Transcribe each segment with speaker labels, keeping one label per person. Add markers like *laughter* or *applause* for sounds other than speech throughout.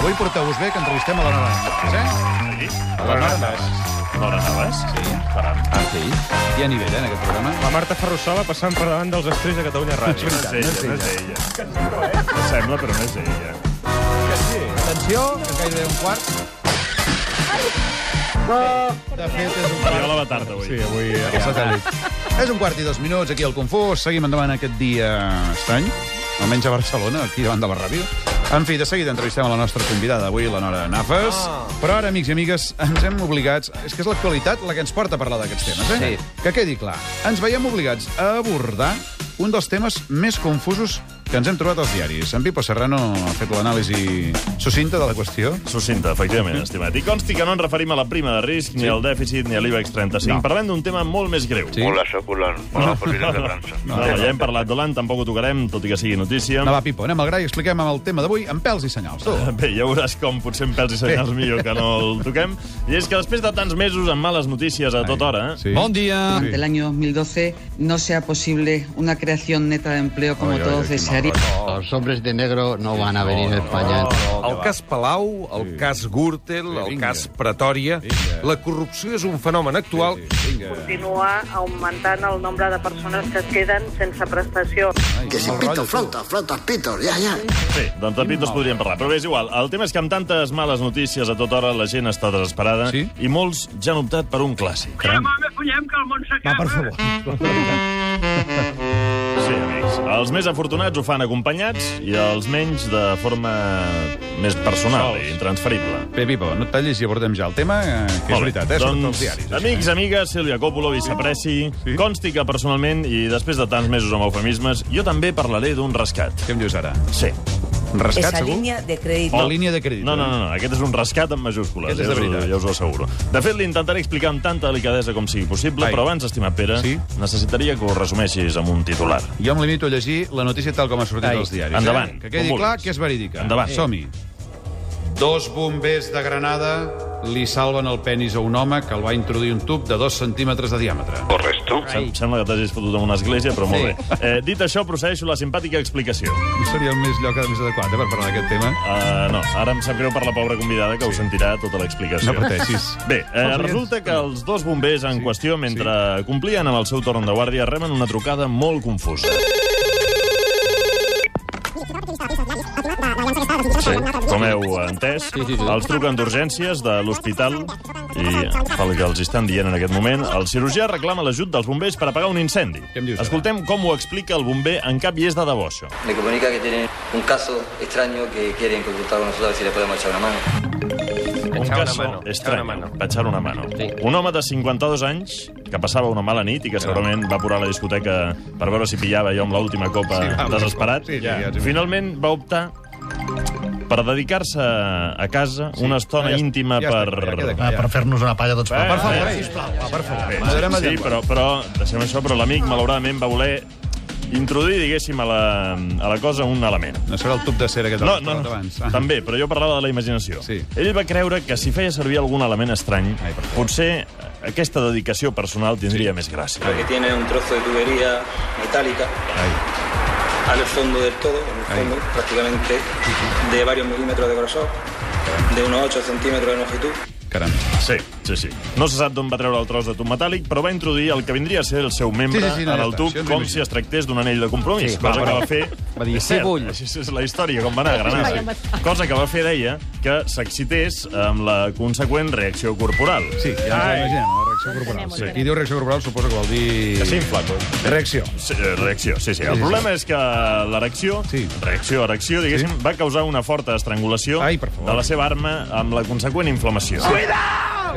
Speaker 1: Avui porteu-vos bé, que entrevistem a la Nora Navas, eh?
Speaker 2: Sí?
Speaker 1: A la Nora Navas.
Speaker 2: Nora Navas?
Speaker 1: Sí.
Speaker 2: Caram.
Speaker 1: Ah, sí? Hi ha nivell, eh, en aquest programa.
Speaker 3: La Marta Ferrusola passant per davant dels estris de Catalunya Ràdio.
Speaker 2: No és ella, no és ella. Em Sembla, però no és ella.
Speaker 1: Atenció, que gairebé un quart. De fet, és un quart.
Speaker 2: Viola va tard, avui.
Speaker 3: Sí, avui...
Speaker 1: El satèl·lit. És un quart i dos minuts aquí al Confús. Seguim endavant aquest dia estrany, almenys a Barcelona, aquí davant de la ràdio. En fi, de seguida entrevistem a la nostra convidada avui, la Nora Nafes.
Speaker 4: Ah.
Speaker 1: Però ara, amics i amigues, ens hem obligats... És que és l'actualitat la que ens porta a parlar d'aquests temes, eh? Sí. Que quedi clar, ens veiem obligats a abordar un dels temes més confusos que ens hem trobat als diaris. En Pipo Serrano ha fet l'anàlisi sucinta de la qüestió.
Speaker 2: Sucinta, efectivament, estimat. I consti que no ens referim a la prima de risc, ni al dèficit, ni a l'IBEX 35.
Speaker 1: No.
Speaker 2: Parlem d'un tema molt més greu.
Speaker 1: Sí.
Speaker 5: Hola, sóc Olan. Hola, Fosina de França.
Speaker 2: No, no, ja hem parlat d'Holand, tampoc ho tocarem, tot i que sigui notícia.
Speaker 1: Anava, Pipo, anem al gra i expliquem amb el tema d'avui amb pèls i senyals. Tu.
Speaker 2: Bé, ja veuràs com potser en pèls i senyals millor que no el toquem. I és que després de tants mesos amb males notícies a tota hora...
Speaker 1: Sí.
Speaker 4: Bon dia.
Speaker 1: Sí.
Speaker 6: durante el año 2012 no sea posible una creación neta de empleo como
Speaker 1: Ai, ai,
Speaker 6: todos
Speaker 1: ai, qué
Speaker 6: desearían.
Speaker 7: Los hombres de negro no van a venir a España.
Speaker 1: Oh,
Speaker 8: El cas Palau, el sí. cas Gürtel,
Speaker 1: Sí,
Speaker 8: el
Speaker 1: vinga.
Speaker 8: cas Pretòria...
Speaker 1: Vinga.
Speaker 8: La corrupció és un fenomen actual.
Speaker 1: Sí, sí, vinga.
Speaker 9: continuar augmentant el nombre de persones que es queden sense prestació.
Speaker 1: Ai, que si pito, flauta.
Speaker 2: Sí, doncs de pitos podríem parlar. Però bé, és igual. El tema és que amb tantes males notícies a tota hora la gent està desesperada
Speaker 1: Sí?
Speaker 2: i molts ja han optat per un clàssic.
Speaker 3: Va, per favor.
Speaker 2: Sí, amics. Els més afortunats ho fan acompanyats i els menys de forma més personal i intransferible.
Speaker 1: Bé, Pipo, no et tallis i abordem ja el tema, eh, que és
Speaker 2: Molt bé.
Speaker 1: veritat, eh? Surt als
Speaker 2: Doncs,
Speaker 1: diaris. això,
Speaker 2: amics,
Speaker 1: eh?
Speaker 2: amigues, Sílvia Coppolo, vicepreci,
Speaker 1: Sí.
Speaker 2: sí. consti que personalment, i després de tants mesos amb eufemismes, jo també parlaré d'un rescat.
Speaker 1: Què em dius ara?
Speaker 2: Sí.
Speaker 1: Un Rescat, segur?
Speaker 9: de crèdit.
Speaker 1: O línia de crèdit. eh?
Speaker 2: No, no, no, no, aquest és un rescat amb majúscules,
Speaker 1: Aquest és
Speaker 2: ja,
Speaker 1: de
Speaker 2: us, ho-
Speaker 1: veritat.
Speaker 2: ja us ho asseguro. De fet, l'intentaré explicar amb tanta delicadesa com sigui possible,
Speaker 1: Ai.
Speaker 2: Ai. però abans, estimat Pere,
Speaker 1: Sí?
Speaker 2: necessitaria que ho resumeixis amb un titular.
Speaker 1: Jo em limito a llegir la notícia tal com ha sortit
Speaker 2: Ai,
Speaker 1: als diaris.
Speaker 2: endavant,
Speaker 1: Eh? Que
Speaker 2: com
Speaker 1: quedi
Speaker 2: vulguis.
Speaker 1: clar que és verídica.
Speaker 2: Endavant.
Speaker 1: Som-hi. Dos bombers de Granada li salven el penis a un home que el va introduir un tub de dos centímetres de diàmetre.
Speaker 5: Correcto.
Speaker 2: Sem sembla que t'hagis fotut en una església, però molt bé. Eh, dit això, procedeixo a la simpàtica explicació.
Speaker 1: No seria el més lloc més adequat eh, per parlar d'aquest tema?
Speaker 2: Uh, no, ara em sap greu per la pobra convidada, que sí. ho sentirà tota l'explicació.
Speaker 1: No pateixis.
Speaker 2: *laughs* Bé, eh,
Speaker 1: Pels
Speaker 2: resulta que els dos bombers en sí. qüestió, mentre sí. complien amb el seu torn de guàrdia, reben una trucada molt confusa. Sí, com heu entès, sí, sí, sí. els truquen d'urgències de l'hospital i, pel que els estan dient en aquest moment, el cirurgià reclama l'ajut dels bombers per apagar un incendi.
Speaker 1: Què em dius, ara?
Speaker 2: Escoltem com ho explica el bomber en cap i és de debò, això.
Speaker 10: Me comunica que tienen un caso extraño que quieren consultar con nosotros a ver si le podemos echar una mano.
Speaker 2: Un
Speaker 8: Echar una
Speaker 2: caso
Speaker 8: mano, echar
Speaker 2: estrany.
Speaker 8: una mano.
Speaker 2: Echar una mano. Un home de 52 anys que passava una mala nit i que segurament va apurar a la discoteca per veure si pillava jo amb l'última copa
Speaker 1: Sí, va,
Speaker 2: desesperat.
Speaker 1: sí, sí, ja ens ho
Speaker 2: Finalment va optar per dedicar-se a casa una estona
Speaker 1: Ah, ja-
Speaker 2: íntima
Speaker 1: ja està, ja
Speaker 2: per...
Speaker 1: queda clar, ja.
Speaker 4: Ah, Per fer-nos una palla tots
Speaker 2: Eh,
Speaker 4: plegats.
Speaker 1: favor,
Speaker 2: eh,
Speaker 1: sisplau,
Speaker 2: eh,
Speaker 1: Ah, per favor.
Speaker 2: bé,
Speaker 1: Moderem el
Speaker 2: Sí,
Speaker 1: llenguatge.
Speaker 2: però, però deixem això, però l'amic, malauradament, va voler introduir, diguéssim, a la, a la cosa un element.
Speaker 1: No serà el tub de cera que t'has
Speaker 2: No, no,
Speaker 1: parlat
Speaker 2: no.
Speaker 1: Doncs abans. Ah.
Speaker 2: també, però jo parlava de la imaginació.
Speaker 1: Sí.
Speaker 2: Ell va creure que si feia servir algun element estrany,
Speaker 1: Ai, per favor.
Speaker 2: potser eh, aquesta dedicació personal tindria més gràcia.
Speaker 10: Creo que tiene un trozo de tubería metálica al fondo del todo, en el fondo prácticamente, de varios milímetros de grosor, de unos 8 centímetros de longitud.
Speaker 1: Caram.
Speaker 2: Sí, sí, sí. No se sap d'on va treure el tros de tub metàl·lic, però va introduir el que vindria a ser el seu membre
Speaker 1: Sí, sí, sí, no,
Speaker 2: en
Speaker 1: ja
Speaker 2: el
Speaker 1: està,
Speaker 2: tub,
Speaker 1: això ens ho
Speaker 2: com
Speaker 1: imagino.
Speaker 2: si es tractés d'un anell de compromís,
Speaker 7: Sí,
Speaker 2: cosa
Speaker 7: va,
Speaker 2: que
Speaker 7: però-
Speaker 2: va fer...
Speaker 7: va dir,
Speaker 2: És
Speaker 7: "Sí,
Speaker 2: cert,
Speaker 7: vull".
Speaker 2: Així és la història, com va anar a Granada. Cosa que va fer, deia, que s'excités amb la conseqüent reacció corporal.
Speaker 1: Sí, ja ens ho imaginem, la reacció corporal. Sí. Qui diu reacció corporal suposa que vol dir...
Speaker 2: Que sí, flaco.
Speaker 1: Reacció.
Speaker 2: Sí, eh, reacció, sí, sí.
Speaker 1: Sí,
Speaker 2: El
Speaker 1: sí,
Speaker 2: problema és que l'erecció,
Speaker 1: Sí.
Speaker 2: reacció, erecció, diguéssim, va causar una forta estrangulació
Speaker 1: Ai, per favor.
Speaker 2: de la seva arma amb la conseqüent inflamació. Cuidao!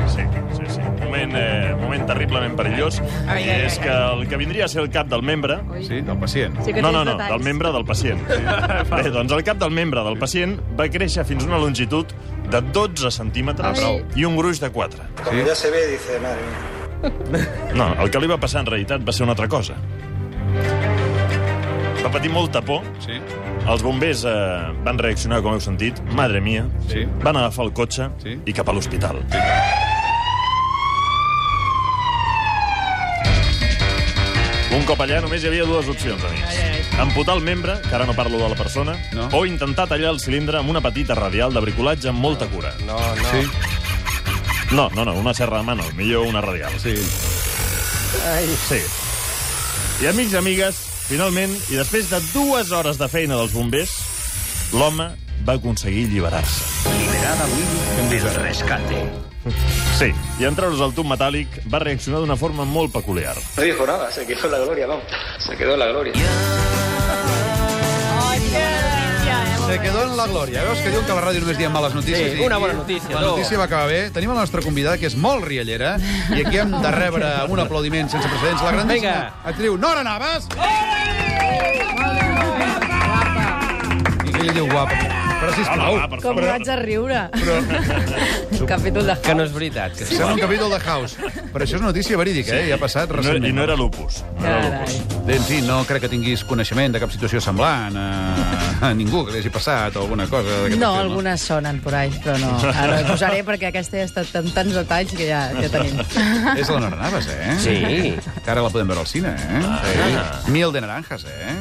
Speaker 2: Sí, sí, sí. Moment, eh, moment terriblement perillós. Ai, ai, és que el que vindria a ser el cap del membre...
Speaker 1: Sí, del pacient.
Speaker 2: No, no, no, del membre del pacient. *laughs* Bé, doncs el cap del membre del pacient va créixer fins a una longitud de 12 centímetres i un gruix de 4.
Speaker 10: Cuando ya se ve, dice, madre mía.
Speaker 2: No, el que li va passar en realitat va ser una altra cosa. Va patir molta por.
Speaker 1: Sí.
Speaker 2: Els bombers eh, van reaccionar, com heu sentit, madre mia,
Speaker 1: Sí.
Speaker 2: van agafar el cotxe
Speaker 1: Sí.
Speaker 2: i cap a l'hospital. Un cop allà només hi havia dues opcions, amics. Amputar el membre, que ara no parlo de la persona,
Speaker 1: No.
Speaker 2: o intentar tallar el cilindre amb una petita radial de bricolatge amb molta cura.
Speaker 8: No, no.
Speaker 1: Sí,
Speaker 2: No, no, no, una serra de mà no, millor una radial.
Speaker 1: sí.
Speaker 2: Sí. I amics i amigues, finalment, i després de dues hores de feina dels bombers, l'home va aconseguir alliberar-se. Sí, i en treure's el tub metàl·lic va reaccionar d'una forma molt peculiar.
Speaker 10: No dijo nada, se quedó en la gloria, vamos. Se quedó en la gloria.
Speaker 1: Se quedó en la glòria. Veus que diuen que a la ràdio només diem males notícies?
Speaker 4: Sí,
Speaker 1: i
Speaker 4: una
Speaker 1: aquí
Speaker 4: bona notícia,
Speaker 1: La
Speaker 4: no.
Speaker 1: notícia va acabar bé. Tenim la nostra convidada, que és molt riallera, i aquí hem de rebre un aplaudiment sense precedents. La grandíssima
Speaker 4: Vinga.
Speaker 1: actriu Nora Navas. I que ella diu guapa. Però sisplau,
Speaker 2: Hola, Ah, per favor.
Speaker 11: a riure.
Speaker 4: *laughs*
Speaker 11: Però... Capítol de...
Speaker 4: Que no és veritat. Que...
Speaker 1: sembla un capítol de House. Però això és notícia verídica, eh? I ha passat
Speaker 2: I no,
Speaker 1: recentment.
Speaker 2: I no era lupus. No era lupus.
Speaker 1: Bé, en fi, no crec que tinguis coneixement de cap situació semblant a, a ningú que li hagi passat o alguna cosa. d'aquest
Speaker 11: No,
Speaker 1: estil,
Speaker 11: algunes sonen por ahí, però no. Ara ho posaré perquè aquesta ja ha estat amb tants detalls que ja, ja tenim.
Speaker 4: *laughs*
Speaker 1: És la Nora Navas, eh?
Speaker 4: Sí.
Speaker 1: Que ara la podem veure al cine, eh? Ah, sí. Miel de naranjas, eh?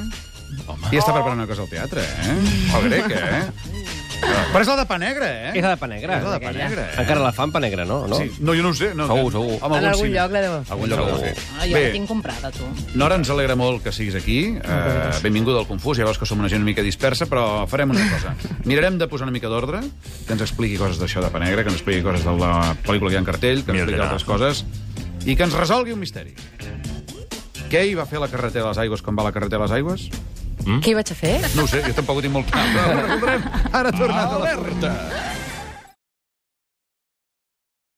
Speaker 1: Home. I està preparant una cosa al teatre, eh? El grec, eh? Però és la de pa negra, eh?
Speaker 4: És la de Panegra.
Speaker 1: És la de pa negra, eh?
Speaker 4: Encara la fan Panegra, no? no?
Speaker 1: Sí. No, jo no ho sé. No,
Speaker 4: Segur, segur.
Speaker 1: Amb
Speaker 11: En algun
Speaker 1: cine.
Speaker 11: lloc la deuen fer.
Speaker 1: Algun lloc la deuen fer.
Speaker 11: Ah, jo la tinc comprada, tu.
Speaker 1: Nora, ens alegra molt que siguis aquí. Uh, benvinguda al Confús. Ja veus que som una gent una mica dispersa, però farem una cosa. Mirarem de posar una mica d'ordre, que ens expliqui coses d'això de Panegra, que ens expliqui coses de la pel·lícula que hi ha en cartell, que ens
Speaker 2: Mira,
Speaker 1: expliqui
Speaker 2: ja.
Speaker 1: altres coses, i que ens resolgui un misteri. Què hi va fer la carretera de les aigües quan va a la carretera de les aigües?
Speaker 4: Mm?
Speaker 11: Què hi vaig a fer?
Speaker 4: Ah,
Speaker 1: No ho sé, jo tampoc ho tinc molt clar. Però ho resoldrem. Ara ha tornat a la... Alerta!